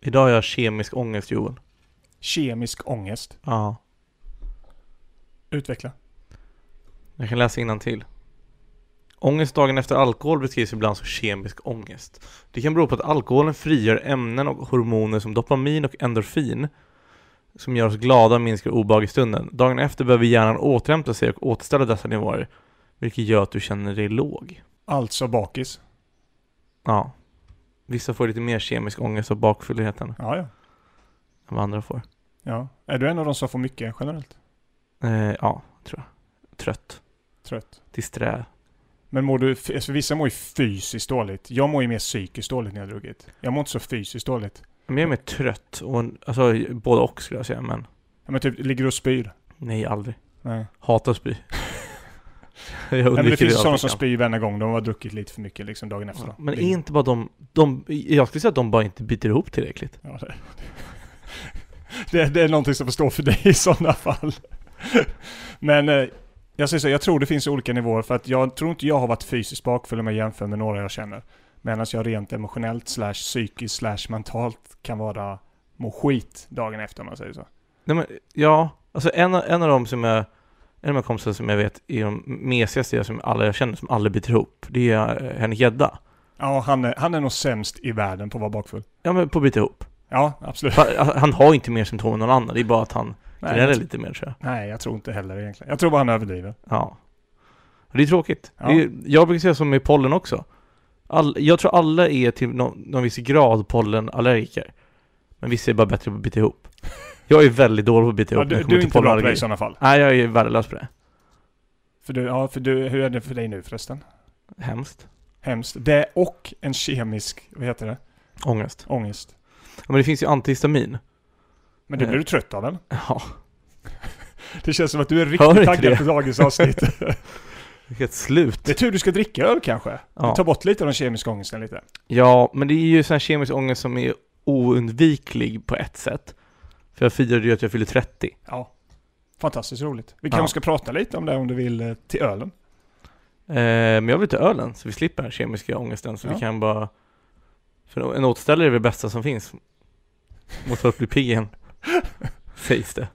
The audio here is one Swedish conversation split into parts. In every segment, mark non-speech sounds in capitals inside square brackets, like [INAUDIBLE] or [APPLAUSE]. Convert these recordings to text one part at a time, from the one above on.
Idag har jag kemisk ångest Joel. Kemisk ångest. Ja. Utveckla. Jag kan läsa till. Ångest dagen efter alkohol beskrivs ibland som kemisk ångest. Det kan bero på att alkoholen frigör ämnen och hormoner som dopamin och endorfin som gör oss glada och minskar obehag i stunden. Dagen efter behöver hjärnan återhämta sig och återställa dessa nivåer, vilket gör att du känner dig låg. Alltså bakis. Ja. Vissa får lite mer kemisk ångest av bakfylligheten än Ja, ja. vad andra får. ja. Är du en av de som får mycket generellt? Eh, ja, tror jag. Trött. Trött. Disträ. Men mår du, alltså vissa mår ju fysiskt dåligt. Jag mår ju mer psykiskt dåligt när jag har druckit. Jag mår inte så fysiskt dåligt. Men jag är mer trött och, alltså både och skulle jag säga, men Ja, men typ ligger du och spyr. nej aldrig. Nej. Hatar [LAUGHS] att spy. jag Nej, men det finns ju sådana allt som jag kan. spyr varenda gång. De har druckit lite för mycket liksom dagen efter. Ja, Men Det- är inte bara de, de, jag skulle säga att de bara inte biter ihop tillräckligt. Ja, det, [LAUGHS] det, det är någonting som får stå för dig i sådana fall. Men eh, jag säger så, jag tror det finns olika nivåer för att jag tror inte jag har varit fysiskt bakfull om jag jämför med några jag känner. Medan jag rent emotionellt slash psykiskt slash mentalt kan vara må skit dagen efter om man säger så. Nej men, ja, alltså en, av- en av de som jag, en av de kompisar som jag vet är de mesigaste som alla jag känner som aldrig biter ihop, det är eh, Henrik Gedda. Ja, han är, han är nog sämst i världen på att vara bakfull. Ja men på att bita ihop. Ja, absolut. Fa- alltså, Han har inte mer symptom än någon annan, det är bara att han Nej, gnäller jag, lite mer tror jag. nej, jag tror inte heller egentligen. Jag tror bara han överdriver. Ja. Och det är tråkigt. Ja. Det är, jag brukar säga som med pollen också. All, jag tror alla är till någon, någon viss grad pollenallergiker. Men vissa är bara bättre på att bita [LAUGHS] ihop. Jag är väldigt dålig på att bita Ja, ihop när det du, du kommer är till inte bra på det i pollenallergi. sådana fall. Nej, jag är värdelös på det. För du, ja, för du, hur är det för dig nu förresten? Hemskt. Hemskt. Det och en kemisk, vad heter det? Ångest. Ångest. Ja, men det finns ju [LAUGHS] antihistamin. Men det Eh. blir du trött av väl? Ja, Det känns som att du är Hör riktigt inte taggad det. på dagens avsnitt. [LAUGHS] vilket slut. det är tur du ska dricka öl kanske. Ja. Ta bort lite av den kemiska ångesten lite. ja, men det är ju sån här kemisk ångest som är oundviklig på ett sätt. För jag firade ju att jag fyllde 30. Ja. Fantastiskt roligt. Vi Ja. kanske ska prata lite om det om du vill eh, till ölen. Eh, men jag vill ta ölen, så vi slipper den kemiska ångesten, så Ja. vi kan bara... För en återställare är det bästa som finns. Mot att bli pigg [LAUGHS] igen, sägs det.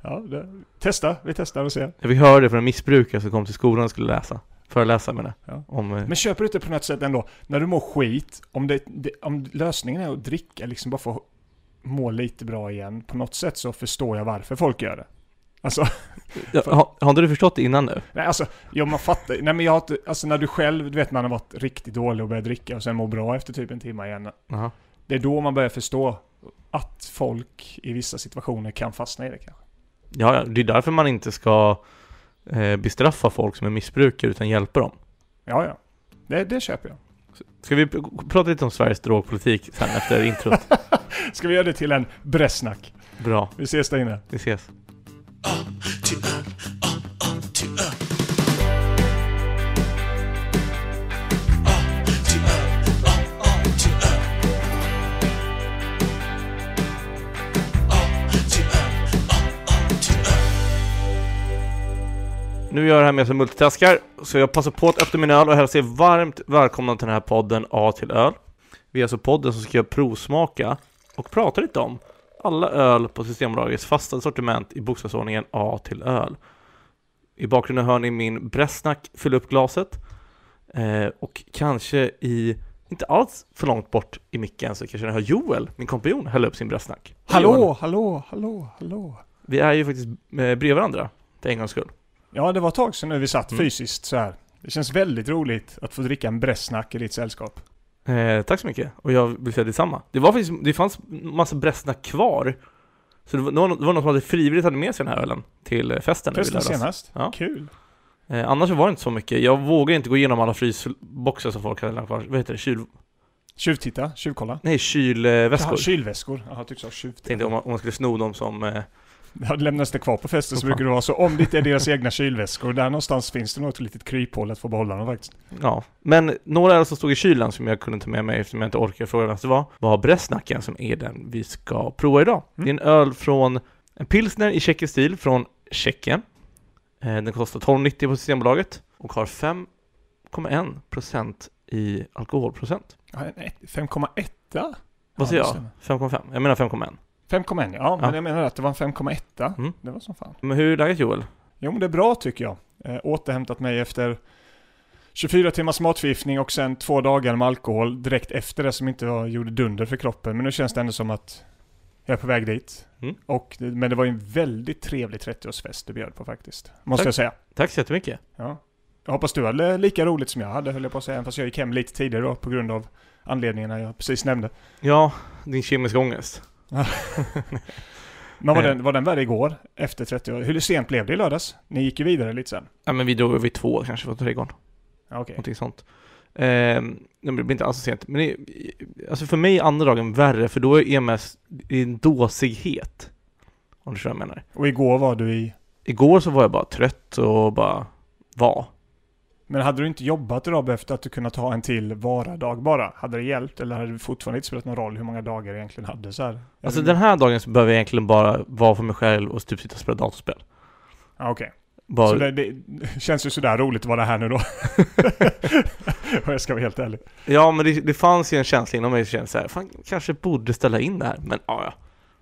Ja, det. Testa, vi testar och ser. Jag fick höra det från en missbrukare som kom till skolan och skulle läsa. Föreläsa med det. Ja. Om, eh, Men köper du inte på något sätt ändå, när du mår skit, om, det, det, om lösningen är att dricka, liksom bara få må lite bra igen, på något sätt så förstår jag varför folk gör det. Alltså, ja, har, har inte du förstått det innan nu? Nej, alltså, ja, man fattar Nej, men jag har inte, alltså när du själv, du vet man har varit riktigt dålig och börjat dricka och sen mår bra efter typ en timme igen. Jaha. Det är då man börjar förstå att folk i vissa situationer kan fastna i det kanske. Ja, ja, det är därför man inte ska eh, bestraffa folk som är missbrukare, utan hjälpa dem. Ja, ja. Det, det köper jag. Ska vi p- prata lite om Sveriges drogpolitik sen efter introt? [LAUGHS] Ska vi göra det till en brässnack? Bra, Vi ses där inne. vi ses. Nu gör jag det här med som multitaskar, så jag passar på att öppna min öl och hälsar er varmt välkomna till den här podden A till öl. Vi är alltså podden som ska göra provsmaka och prata lite om alla öl på Systembolagets fasta sortiment i bokstavsordningen A till öl. I bakgrunden hör ni min Brässnack fylla upp glaset eh, och kanske i, inte alls för långt bort i micken så kanske ni hör Joel, min kompanjon, hälla upp sin Brässnack. Hej, Joel. Hallå, hallå, hallå, hallå. Vi är ju faktiskt eh, bredvid varandra, för en gångs skull. Ja, det var ett tag sedan nu vi satt Mm. fysiskt så här. Det känns väldigt roligt att få dricka en brässnack i ditt sällskap. Eh, tack så mycket, och jag vill säga detsamma. Det var faktiskt, det fanns massa Brässna kvar. Så det var, det var någon det var någon som hade frivilligt hade med sig den här ölen till eh, festen. nu i Förresten lördags. senast. Ja. Kul. Eh, annars så var det inte så mycket. Jag vågar inte gå igenom alla frysboxar som folk hade lagt kvar. Vad heter det? Kyl... Tjuvtitta, tjuvkolla. Nej, kylväskor. Jaha, kylväskor. Jaha, jag tyckte du sa tjuvtitta. Tänkte om man, om man skulle sno dem som... Eh, Ja, det lämnas det kvar på festen så Åh, brukar fan. det vara så. Om det inte är deras egna kylväskor, där någonstans finns det nog ett litet kryphål att få behålla dem faktiskt. ja. Men några öl som stod i kylen som jag kunde ta med mig eftersom jag inte orkade fråga vad det var, var Bresnacken som är den vi ska prova idag. Mm. Det är en öl från... En pilsner i tjeckisk stil från Tjeckien. Eh, den kostar 12,90 på Systembolaget och har 5,1% i alkoholprocent. Ja, en ett- 5,1? Vad säger det jag? stämmer. 5,5? Jag menar 5,1. 5,1 ja, men Ja. jag menar att det var en 5,1. Mm. Det var som fan. Men hur är läget Joel? Jo men det är bra tycker jag. Eh, återhämtat mig efter 24 timmars matförgiftning och sen två dagar med alkohol direkt efter det som inte var, gjorde dunder för kroppen. Men nu känns det ändå som att jag är på väg dit. Mm. Och, det- men det var ju en väldigt trevlig 30-årsfest du bjöd på faktiskt. Måste Tack. jag säga. Tack så jättemycket. Ja. Jag hoppas du hade lika roligt som jag hade höll jag på att säga. Även fast jag gick hem lite tidigare då på grund av anledningarna jag precis nämnde. Ja, din kemiska ångest. Men var Eh. den, var den värre igår? Efter 30 år? Hur sent blev det i lördags? Ni gick ju vidare lite sen. Ja men vi drog vid två kanske på trädgården, Ja, Okej. någonting sånt. Ehm, det blir inte alls så sent. Men det, alltså för mig är andra dagen värre, för då är EMS det är en dåsighet. Om du förstår vad jag menar. Och igår var du i... Igår så var jag bara trött och bara var. Men hade du inte jobbat idag efter att du kunnat ha en till varadag bara? Hade det hjälpt eller hade det fortfarande inte spelat någon roll hur många dagar du egentligen hade så här? Alltså den här dagen så behöver jag egentligen bara vara för mig själv och typ sitta och spela datorspel. Ja, okej. Bara, Så det, det känns ju sådär roligt att vara här [LAUGHS] nu då. [LAUGHS] Och jag ska vara helt ärlig. Ja men det, det fanns ju en känsla inom mig som kände såhär, fan kanske borde ställa in det här, men ja ja.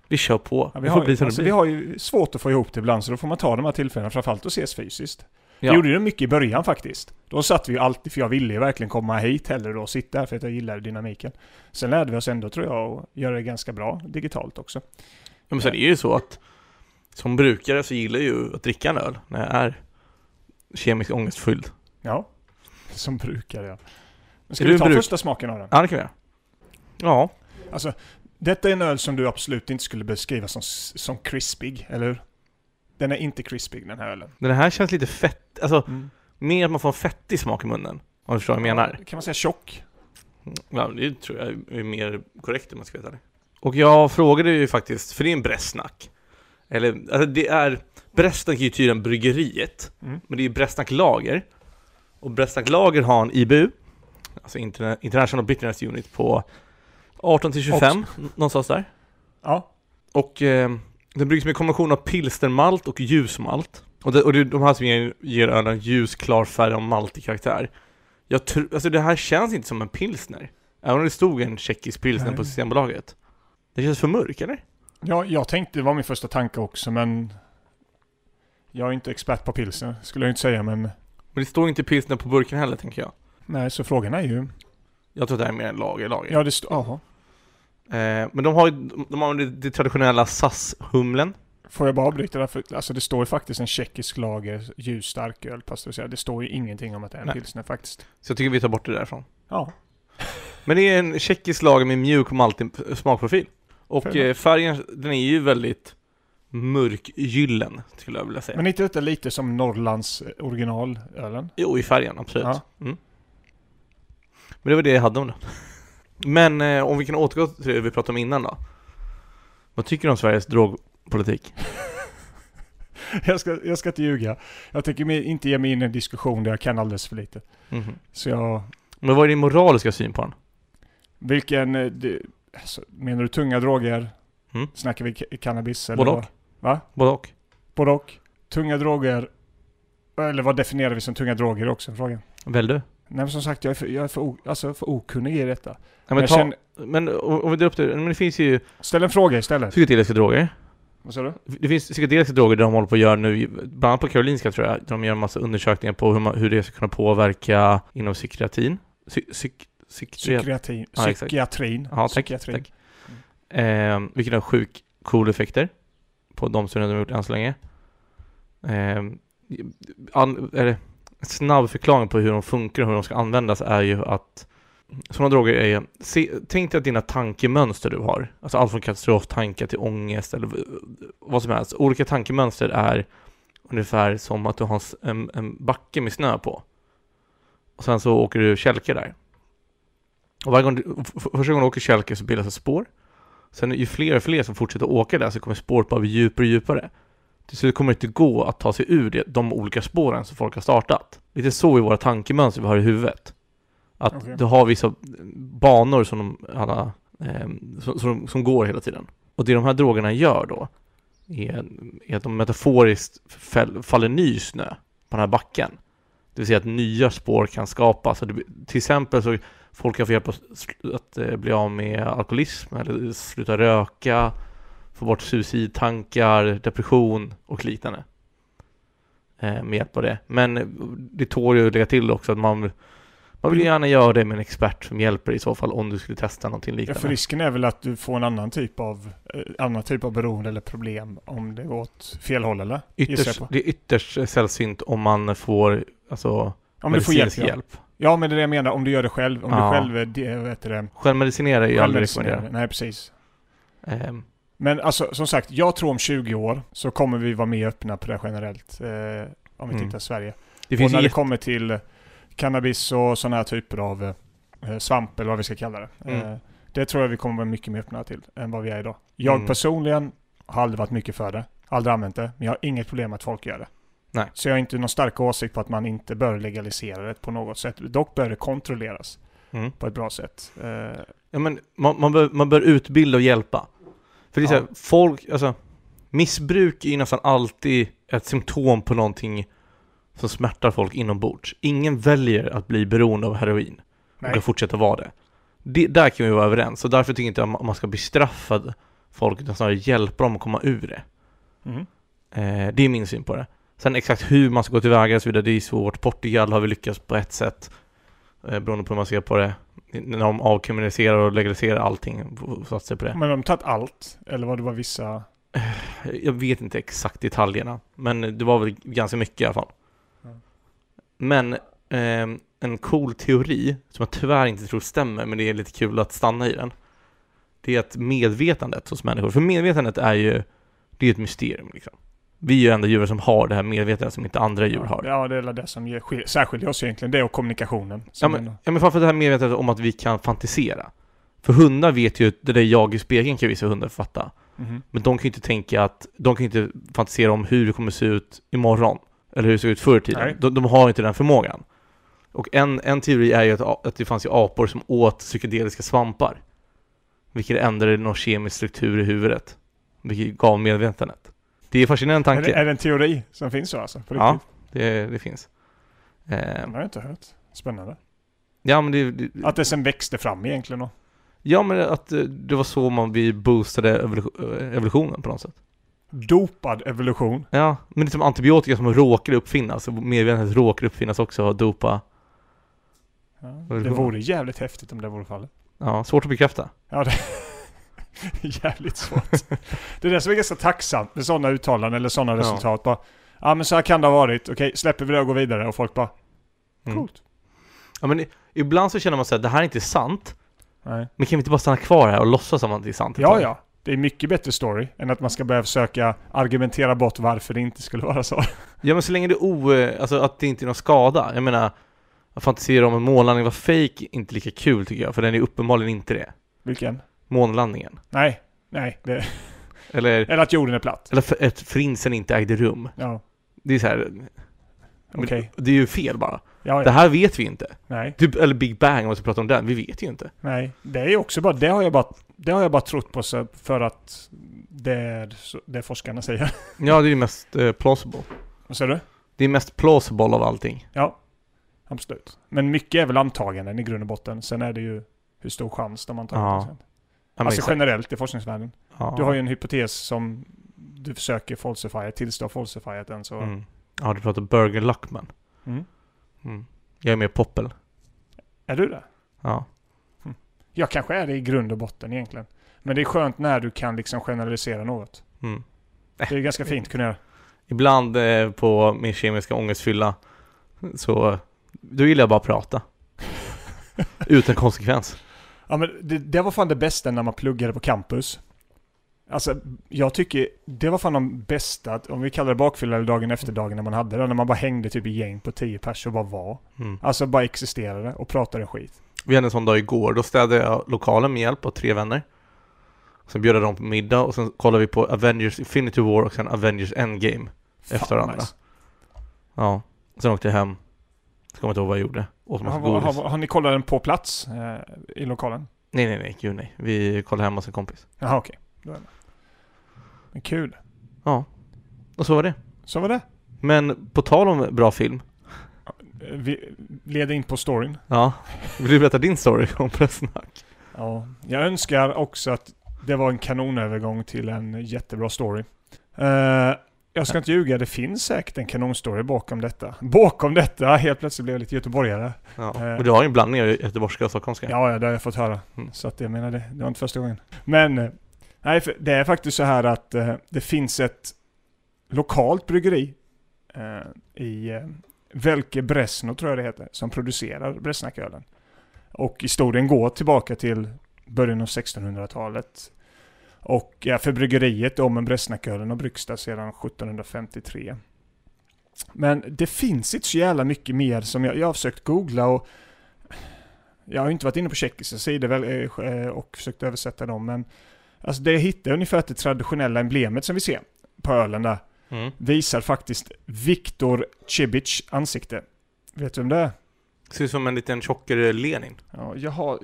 Vi kör på. Ja, vi, det får har, bli som alltså, det vi blir. har ju svårt att få ihop det ibland så då får man ta de här tillfällena framförallt och ses fysiskt. Ja. Det gjorde det mycket i början faktiskt. Då satt vi ju alltid, för jag ville ju verkligen komma hit hellre då och sitta här för att jag gillade dynamiken. Sen lärde vi oss ändå tror jag att göra det ganska bra digitalt också. Ja, men sen är det ju så att som brukare så gillar jag ju att dricka en öl när jag är kemiskt ångestfylld. Ja, som brukar jag. Men ska Är vi du ta bruk- första smaken av den? Ja, det kan vi göra. Ja, Alltså, detta är en öl som du absolut inte skulle beskriva som, som crispig, eller hur? Den är inte crispig den här ölen. den här känns lite fett, alltså Mm. mer att man får en fettig smak i munnen. Om du förstår vad jag menar. Kan man säga tjock? Ja, det tror jag är mer korrekt om man ska veta det. Och jag frågade ju faktiskt, för det är en Brästnack. Eller, alltså det är, Brästnack är ju tydligen bryggeriet, Mm. men det är ju Brästnack Lager. Och Brästnack Lager har en IBU, alltså Interna- International Bitterness Unit, på 18 till 25, någonstans där. Ja. Och eh, den bryggs med en kombination av pilstermalt och ljusmalt. Och, det, och det, är de här som ger, ger ölen ljus, klar färg och maltig karaktär. Jag tror, alltså det här känns inte som en pilsner. Även om det stod en tjeckisk pilsner Nej. på Systembolaget. Det känns för mörk, eller? ja, jag tänkte, det var min första tanke också, men jag är inte expert på pilsner, skulle jag inte säga, men Men det står inte pilsner på burken heller, tänker jag. nej, så frågan är ju... Jag tror att det här är mer en lager, lager. Ja, det står... Jaha. Eh, men de har ju de, de har det, det traditionella SAS-humlen. Får jag bara avbryta där? För, alltså det står ju faktiskt en tjeckisk lager, ljus stark öl, pastöriserad. Det står ju ingenting om att det är en Nej. pilsner faktiskt. Så jag tycker vi tar bort det därifrån. Ja, Men det är en tjeckisk lager med mjuk och maltig p- smakprofil. Och Fair enough. eh, färgen, den är ju väldigt mörkgyllen, skulle jag vilja säga. men inte detta lite som Norrlands eh, originalölen? [LAUGHS] Jo, i färgen, absolut. Ja. Mm. Men det var det jag hade om det. Men eh, om vi kan återgå till det vi pratade om innan då. Vad tycker du om Sveriges drogpolitik? Jag ska, jag ska inte ljuga. Jag tänker mig inte ge mig in i en diskussion där jag kan alldeles för lite. Mhm. Så jag... Men vad är din moraliska syn på den? Vilken... eh, det- Alltså, menar du tunga droger? Mm. Snackar vi ca- cannabis? Eller Både vad? och. Både och. Både och. Tunga droger... Eller vad definierar vi som tunga droger är också? en Fråga. Väl du? Nej men som sagt, jag är för, jag är för, o, alltså, för okunnig i detta. Ja, men, jag ta, känner, men om om vi drar upp det, men det finns ju ställ en fråga istället. psykedeliska droger. Vad sa du? Det finns psykedeliska droger där de håller på att göra nu, bland annat på Karolinska tror jag, där de gör en massa undersökningar på hur, man, hur det ska kunna påverka inom psykiatrin. Psy, psyk, psykiatri. Psykiatrin. Ja, exakt. psykiatrin. Ja, tack. Psykiatrin. tack. Ehm, vilket har sjukt coola effekter på de studier de har gjort än så länge. Ehm, an, eller, en snabb förklaring på hur de funkar och hur de ska användas är ju att sådana droger är ju, se, tänk dig att dina tankemönster du har, alltså allt från katastroftankar till ångest eller v- vad som helst, olika tankemönster är ungefär som att du har en s- en, en backe med snö på. Och sen så åker du kälke där. Och varje gång du, f- f- första gången du åker kälke så bildas ett spår. Sen ju fler och fler som fortsätter åka där så kommer spåret bara bli djupare och djupare. Till slut kommer det inte gå att ta sig ur det, de olika spåren som folk har startat. Lite så i våra tankemönster vi har i huvudet. Att Okej. du har vissa banor som, de, alla, ehm, som, som, som går hela tiden. Och det de här drogerna gör då är, är att de metaforiskt fäll, faller ny snö på den här backen. Det vill säga att nya spår kan skapas. Och det, blir- till exempel så folk kan få hjälp att, sl- att eh, bli av med alkoholism eller sluta röka, få bort suicidtankar, depression och liknande. Eh, med hjälp av det. Men eh, det tål ju att lägga till också att man, man vill ju gärna göra det med en expert som hjälper i så fall om du skulle testa någonting Ja, för liknande. risken är väl att du får en annan typ av, eh, annan typ av beroende eller problem om det går åt fel håll eller? Gissar jag Ytterst, på. det är ytterst sällsynt om man får alltså, Ja men du får hjälp. medicinsk Ja. ja men det är det jag menar, om du gör det själv. Om Ja. du själv, är det, vad heter det? Självmedicinera är ju aldrig självmedicinering. rekommenderat. Nej precis. Ehm, Men alltså som sagt, jag tror om 20 år så kommer vi vara mer öppna på det generellt. Eh, om vi Mm. tittar Sverige. Det finns och när ju det kommer till cannabis och sådana här typer av eh, svamp eller vad vi ska kalla det. Mm. Eh, det tror jag vi kommer vara mycket mer öppna till än vad vi är idag. Jag Mm. personligen har aldrig varit mycket för det. Aldrig använt det. Men jag har inget problem med att folk gör det. Nej. Så jag har inte någon stark åsikt på att man inte bör legalisera det på något sätt. Dock bör det kontrolleras Mm. på ett bra sätt. Eh, Ja, men man, man, bör, man bör utbilda och hjälpa. För det är så Ja. här, folk, alltså missbruk är ju nästan alltid ett symptom på någonting som smärtar folk inombords. Ingen väljer att bli beroende av heroin och nej. att fortsätta vara det. det. Där kan vi vara överens, så därför tycker inte jag ma- man ska bestraffa folk, utan snarare hjälpa dem att komma ur det. Mm. Eh, det är min syn på det. Sen exakt hur man ska gå tillväga och så vidare, det är svårt. Portugal har vi lyckats på ett sätt, eh, beroende på hur man ser på det. När de avkriminaliserar och legaliserar allting, och satsar på det. Men har de tagit allt? Eller var det bara vissa? Jag vet inte exakt detaljerna, men det var väl ganska mycket i alla fall. Mm. Men ehm, en cool teori, som jag tyvärr inte tror stämmer, men det är lite kul att stanna i den. Det är att medvetandet hos människor, för medvetandet är ju, det är ett mysterium liksom. Vi är ju enda djur som har det här medvetandet som inte andra djur har. Ja, det är väl det som ger- skil- särskiljer oss egentligen. Det och kommunikationen. Ja Som men, ja men framförallt det här medvetandet om att vi kan fantisera. För hundar vet ju, det där jag i spegeln kan vissa hundar fatta. Mhm. Men de kan ju inte tänka att, de kan ju inte fantisera om hur det kommer se ut imorgon. Eller hur det såg ut förr i tiden. Nej. De, de har inte den förmågan. Och en, en teori är ju att, a- att det fanns ju apor som åt psykedeliska svampar. Vilket ändrade någon kemisk struktur i huvudet. Vilket gav medvetandet. Det är en fascinerande Är, det, tanke. är det en teori som finns så alltså? På Ja, riktigt? det, det finns. Eh, Den har jag inte hört. Spännande. ja, men det, det, Att det sen växte fram egentligen då. Ja, men att eh, det var så man, vi boostade evolu- eh, evolutionen på något sätt. Dopad evolution. Ja, men det är som antibiotika som råkade uppfinnas, och medvetandet råkade uppfinnas också, och dopa. Ja, det det bra? vore jävligt häftigt om det vore fallet. [LAUGHS] Ja, svårt att bekräfta. Ja, det jävligt svårt. det är det som är ganska tacksamt med sådana uttalanden eller sådana Ja. resultat. Bara, ja men så här kan det ha varit. Okej, släpper vi det och går vidare. Och folk bara, Mm. coolt. Ja, men i- ibland så känner man så här, det här är inte sant, Nej. men kan vi inte bara stanna kvar här och låtsas som att det är sant? ett Ja, tag? ja. Det är mycket bättre story än att man ska behöva försöka argumentera bort varför det inte skulle vara så. [LAUGHS] Ja, men så länge det är o... eh, Alltså att det inte är någon skada. Jag menar, att fantisera om en månlandning var fake är inte lika kul tycker jag, för den är uppenbarligen inte det. Vilken? Månlandningen. Nej, nej. Det, Eller, eller att jorden är platt. eller för- att förintelsen inte ägde rum. Ja, Det är så här, men okej. det är ju fel bara. Ja, Det ja. här vet vi inte. Nej, Typ, eller Big Bang om vi ska prata om den, vi vet ju inte. nej. Det är också bara, det har jag bara, det har jag bara trott på så- för att det är så- det forskarna säger. [LAUGHS] Ja, det är ju mest eh, plausible. Vad säger du? Det är mest plausible av allting. Ja, absolut. Men mycket är väl antaganden i grund och botten. Sen är det ju hur stor chans de Ja, antagligen ja, Ja, men Alltså exakt. generellt i forskningsvärlden. ja. Du har ju en hypotes som du försöker falsifiera, tills du har falsifierat den så... Mm. Ja, du pratar Burger Luckman. Mm. Mm. Jag är mer poppel. Är du det? Ja. Jag kanske är det i grund och botten egentligen. Men det är skönt när du kan liksom generalisera något. Mm. Det är ganska fint att kunna göra. Ibland eh, på min kemiska ångestfylla så då gillar jag bara att prata. [LAUGHS] Utan konsekvens. Ja, men det, det var fan det bästa när man pluggade på campus. Alltså, jag tycker det var fan de bästa, att- om vi kallar det bakfylla eller dagen efter dagen när man hade det, när man bara hängde typ i gäng på tio pers och bara var. Mm. Alltså bara existerade och pratade skit. Vi hade en sån dag igår, då städade jag lokalen med hjälp av tre vänner. Sen bjöd jag dem på middag och sen kollade vi på Avengers Infinity War och sen Avengers Endgame. Fan, Efter varandra. nice. Ja, sen åkte jag hem. Så kommer jag inte ihåg vad jag gjorde. Åt massa Har, har, godis. har, har ni kollat den på plats eh, i lokalen? Nej, nej, nej, gud nej. Vi kollade hemma hos en kompis. Jaha, okej. Då är det. Men kul. Och så var det. Så var det. Men på tal om bra film. eh, vi leder in på storyn. Ja. Vill du berätta din story om pressnack? Ja. Jag önskar också att det var en kanonövergång till en jättebra story. Eh, jag ska inte ljuga, det finns säkert en kanonstory bakom detta. Bakom detta! Helt plötsligt blev jag lite göteborgare. Ja. Eh. Men du har ju en blandning av göteborgska och stockholmska. Ja, ja, det har jag fått höra. Mm. Så att jag menar det, det var inte första gången. Men, eh, nej, för det är faktiskt så här att eh, det finns ett lokalt bryggeri eh, i eh, Velke Bresno, tror jag det heter, som producerar Bresnackölen. Och historien går tillbaka till början av 1600-talet. Och ja, för bryggeriet då, men Bresnackölen har bryggts där sedan 1753. Men det finns inte så jävla mycket mer som jag, jag har försökt googla och jag har ju inte varit inne på tjeckiska sidor väl, eh, och försökt översätta dem, men alltså det jag hittade ungefär det traditionella emblemet som vi ser på ölen där Mm. visar faktiskt Viktor Cebic ansikte. Vet du vem det är? Ser ut som en liten tjockare Lenin. Ja, jag har...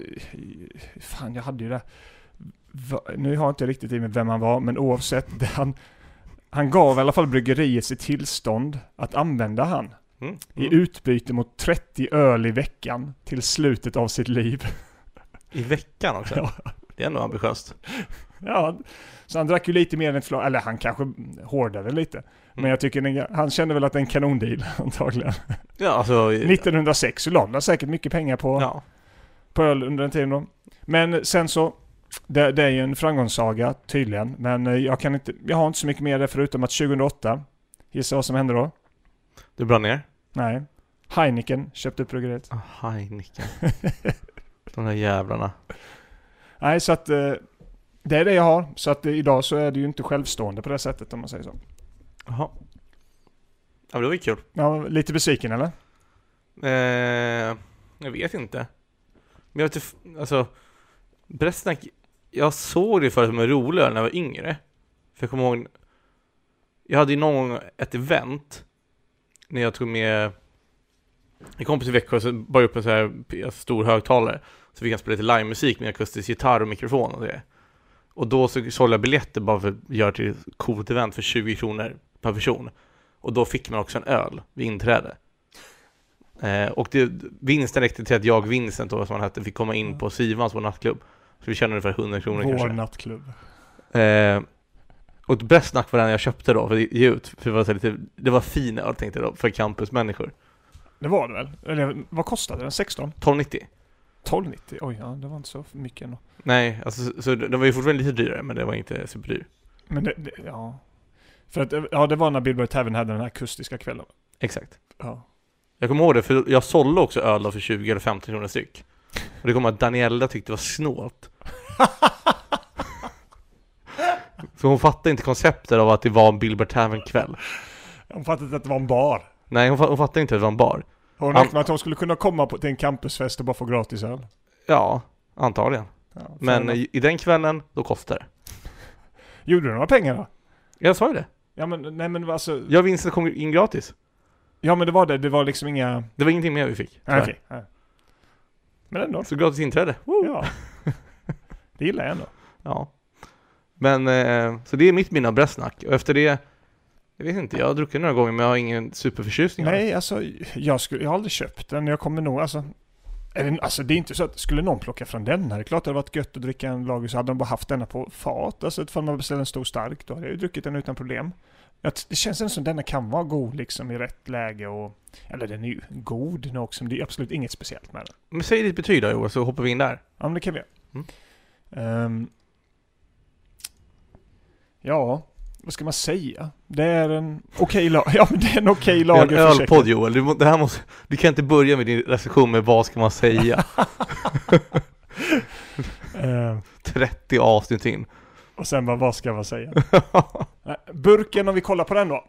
Fan, jag hade ju det. Va, nu har jag inte riktigt i mig vem han var, men oavsett, det han, han gav i alla fall bryggeriet sitt tillstånd att använda han Mm. i Mm. utbyte mot 30 öl i veckan till slutet av sitt liv. I veckan [LAUGHS] också? Det är ändå ambitiöst. Ja, så han drack ju lite mer än ett flak, eller han kanske hårdare lite. Mm. Men jag tycker den, han kände väl att det är en kanondeal [LAUGHS] antagligen. Ja, alltså... 1906 så la han säkert mycket pengar på, Ja. på öl under den tiden då. Men sen så, det, det är ju en framgångssaga tydligen. Men eh, jag, kan inte, jag har inte så mycket mer där förutom att 2008, gissa vad som hände då? Du brann ner? Nej. Heineken köpte upp bryggeriet. Ah, [LAUGHS] Heineken. De där jävlarna. Nej, så att eh, det är det jag har. Så att eh, idag så är det ju inte självstående på det sättet om man säger så. Jaha. Ja, men det var ju kul. Ja, lite besviken eller? Eh, jag vet inte. Men jag vet inte, f- alltså... Brestnack, jag såg det förut som en rolig öl när jag var yngre. För jag kommer ihåg, jag hade ju någon gång ett event när jag tog med en kompis i Växjö så bar jag upp en så här p- stor högtalare. Så vi kan spela lite livemusik med akustisk gitarr och mikrofon och det. Och då så sålde jag biljetter bara för att göra till ett coolt event för 20 kronor per person. Och då fick man också en öl vid inträde. Eh, och det, vinsten räckte till att jag, Vincent då, som han hette, fick komma in på Sivans, vår nattklubb. Så vi tjänade ungefär 100 kronor kanske. Vår nattklubb. Eh, och bäst snack var den jag köpte då, för det ge ut. För det var, så här lite, det var fin öl tänkte jag då, för campusmänniskor. Det var det väl? Eller vad kostade den? 16? 12,90. 12,90? Oj, ja, det var inte så mycket ändå. Nej, alltså, så, så den var ju fortfarande lite dyrare, men det var inte superdyr. Men det, det ja. För att, ja, det var när Billboard Tavern hade den här akustiska kvällen. Exakt. Ja. Jag kommer ihåg det, för jag sålde också öl då för 20 eller 15 kronor styck. Och det kommer att Daniela tyckte det var snålt. så hon fattade inte konceptet av att det var en Bilbert Tavern-kväll. Hon fattade inte att det var en bar. Nej, hon, fa- hon fattade inte att det var en bar. Hon Ja. räknade med att hon skulle kunna komma på, till en campusfest och bara få gratis öl. Ja, antagligen. Ja, Men eh, fan. i, i den kvällen, då kostade det. Gjorde du några pengar då? Jag sa ju det. Ja men, nej men alltså, Jag och Vincent kom in gratis. ja men det var det, det var liksom inga... Det var ingenting mer vi fick. tyvärr. Nej, Okej. Nej. Men ändå. Så gratis inträde. [LAUGHS] Ja. Det gillar jag ändå. Ja. Men, eh, så det är mitt minne av Brästnack. Och efter det, jag vet inte, jag har druckit några gånger men jag har ingen superförtjusning av det. Nej alltså, jag, skulle, jag har aldrig köpt den, jag kommer nog alltså... Är det, alltså det är inte så att, skulle någon plocka från den här, det är klart det hade varit gött att dricka en lager så hade de bara haft denna på fat. Alltså ifall man beställer en stor stark, då hade jag ju druckit den utan problem. Att det känns ändå som denna kan vara god liksom i rätt läge och... Eller den är ju god nu också, men det är absolut inget speciellt med den. Men säg ditt betyg då Joel, så hoppar vi in där. Ja, men det kan vi göra. Mm. Ehm, ja, vad ska man säga? Det är en okej lag. [LAUGHS] Ja, men det är en okej Det är en lager för Tjeckien. ölpodd Joel, du, må- det här måste, du kan inte börja med din recension med vad ska man säga? [LAUGHS] Ehm, 30 avsnitt [LAUGHS] in. Och sen bara, vad ska man säga? Nej, Burken, om vi kollar på den då.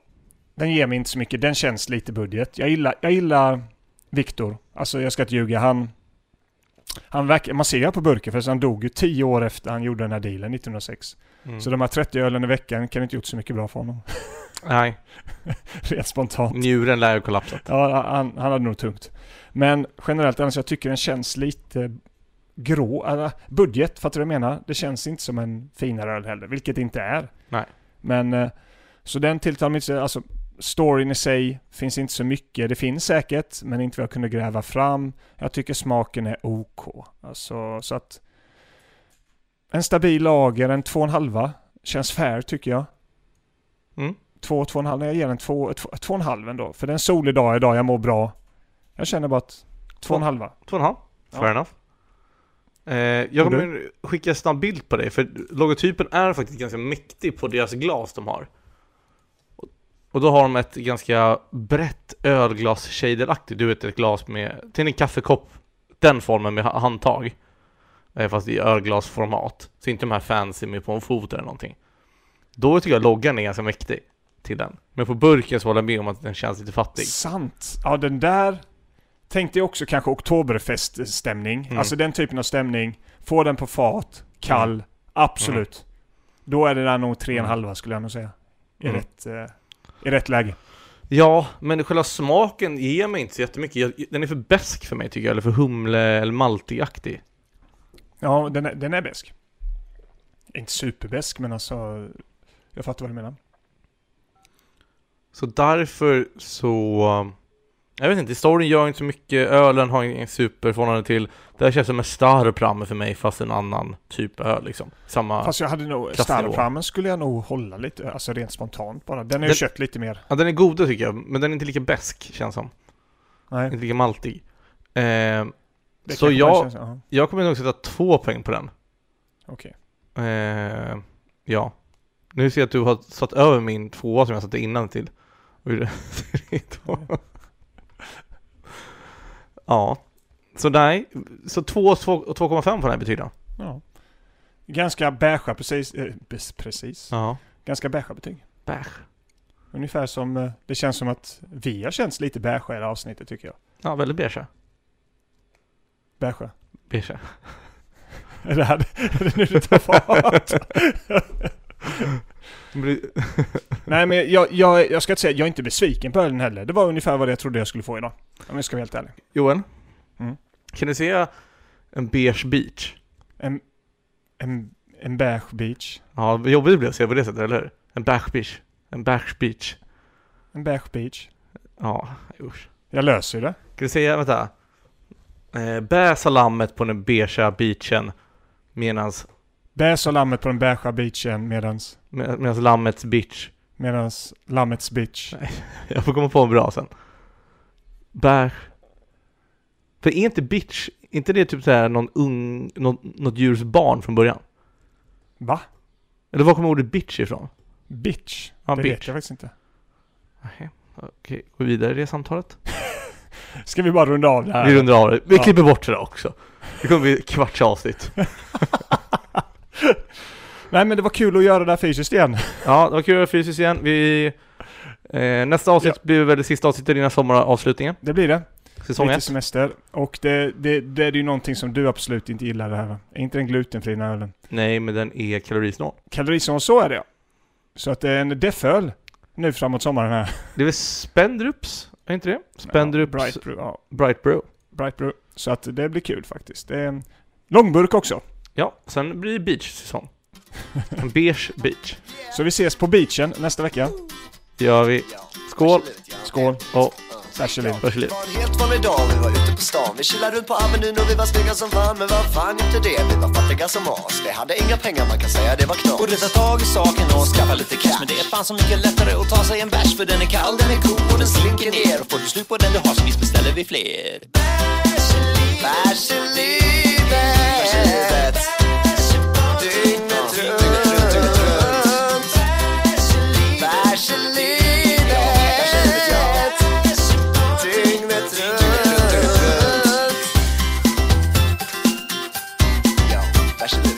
Den ger mig inte så mycket, den känns lite budget. Jag gillar, jag gillar Viktor. Alltså jag ska inte ljuga, han... han verkar, man ser ju på burken för han dog ju tio år efter han gjorde den här dealen 1906. Mm. Så de här 30 ölen i veckan kan inte gjort så mycket bra för honom. [LAUGHS] Nej, Rent spontant. njuren lär ju kollapsa. Ja, han, han hade nog tungt. Men generellt annars, jag tycker den känns lite grå. Eller, budget, fattar du vad jag menar? Det känns inte som en finare öl heller, vilket det inte är. Nej. Men, eh, så den tilltalar mig inte. så- Alltså, storyn i sig finns inte så mycket. Det finns säkert, men inte vad jag kunde gräva fram. Jag tycker smaken är OK. Alltså, så att... En stabil lager, en två och en halva, känns fair tycker jag. Mm. Två, två och en halv, jag ger den två, två, två och en halv ändå. För det är en solig dag idag, jag mår bra. Jag känner bara att två och en halva. Två och en halv. Ja. Fair enough. Eh, jag Och du? kommer skicka en snabb bild på dig, för logotypen är faktiskt ganska mäktig på deras glas de har. Och- Och då har de ett ganska brett ölglas shaderaktigt, du vet ett glas med, till en kaffekopp, den formen med ha- handtag. Eh, fast i ölglasformat. Så inte de här fancy med på en fot eller någonting. Då tycker jag loggan är ganska mäktig till den. Men på burken så håller jag med om att den känns lite fattig. Sant! Ja, den där tänkte jag också kanske oktoberfeststämning. Mm. Alltså den typen av stämning. Få den på fat, kall, absolut. Då är det där nog tre och en Mm. halva skulle jag nog säga. I, Mm. rätt, eh, I rätt läge. Ja, men själva smaken ger mig inte så jättemycket. Jag- Den är för besk för mig tycker jag, eller för humle eller maltigaktig. Ja, den är, den är besk. Inte superbesk, men alltså... Jag fattar vad du menar. Så därför så... um, Jag vet inte, storyn gör inte så mycket, ölen har ingen superförhållande till. Det här känns som en starpramme för mig fast en annan typ öl liksom. Samma... Fast jag hade nog... Klassnivå. Starframmen skulle jag nog hålla lite, alltså rent spontant bara. Den är ju Den- köpt lite mer. Ja, den är goda tycker jag, men den är inte lika besk känns som. Nej, Inte lika maltig. Ehm, det Så kanske jag- bara känns- ja, jag kommer nog sätta två poäng på den. okej. Ehm, ja. Nu ser jag att du har satt över min tvåa som jag satte innan till. Och hur [LAUGHS] det ser ut då. Ja. Så nej, så 2 och 2,5 på den här betyder Ja. Ganska beigea precis. Eh, bes- precis. Ja. Ganska beigea betyg. Beige. Ungefär som, eh, det känns som att vi har känts lite beigea i det här avsnittet tycker jag. Ja, väldigt beige. [LAUGHS] Beigea. Beige. Är det här är det nu det tar fart? [LAUGHS] Nej men jag, jag, jag ska inte säga, jag är inte besviken på ölen heller. Det var ungefär vad jag trodde jag skulle få idag. Om jag ska vara helt ärlig. Johan? Mm. Kan du se en beige beach? En, en, en beige beach. Ja, vad jobbigt det blir att se på det sättet, eller hur? En beige beach. En beige beach. En beige beach. Ja, usch. Jag löser ju det. Kan du säga, vänta. Eh, bä salammet på den beigea beachen medans, Bäs och lammet på den beigea beachen medans, med, medans lammets bitch. [LAUGHS] medans lammets bitch. Jag får komma på en bra sen. Bär. För är inte bitch, är inte det typ så här någon ung, något, något djurs barn från början? Va? Eller var kommer ordet bitch ifrån? Bitch? Ja, det vet bitch. jag faktiskt inte. Nej, Okej, gå vidare i det samtalet. Ska vi bara runda av det här? Vi rundar av det. Vi Ja. klipper bort det där också. Det kommer bli kvarts avsnitt. Nej men det var kul att göra det här fysiskt igen. Ja, det var kul att göra fysiskt igen. Vi, eh, nästa avsnitt blir väl det sista avsnittet innan sommaravslutningen. Det blir det. Säsong Lite 1. semester. Och det, det, det är ju någonting som du absolut inte gillar det här. va? Är inte den glutenfria ölen? Nej, men den är kalorisnål. Kalorisnål, så är det ja. Så att det är en defföl nu framåt sommaren här. Det är väl Spendrups? Är inte det? Spendrups Ja, Bright, Bright Brew. Brew. Ja, Bright Brew. Så att det blir kul faktiskt. Det är en långburk också. Ja, sen blir det [LAUGHS] beach-säsong. En beige beach. Så vi ses på beachen nästa vecka. Det gör vi. Skål Skål! och Särskilt liv. varsågod. Det var en helt vanlig dag, vi var ute på stan Vi chillade runt på Avenyn och vi var snygga som fan Men vad fan inte det, vi var fattiga som as Vi hade inga pengar, man kan säga det var knas Borde ta tag i saken och skaffa lite cash Men det är fan så mycket lättare att ta sig en bärs För den är kall, den är god och den slinker ner Och får du slut på den du har så visst beställer vi fler Bärs i livet Dygnet runt Bärs i livet Dygnet runt Ja, bärs i livet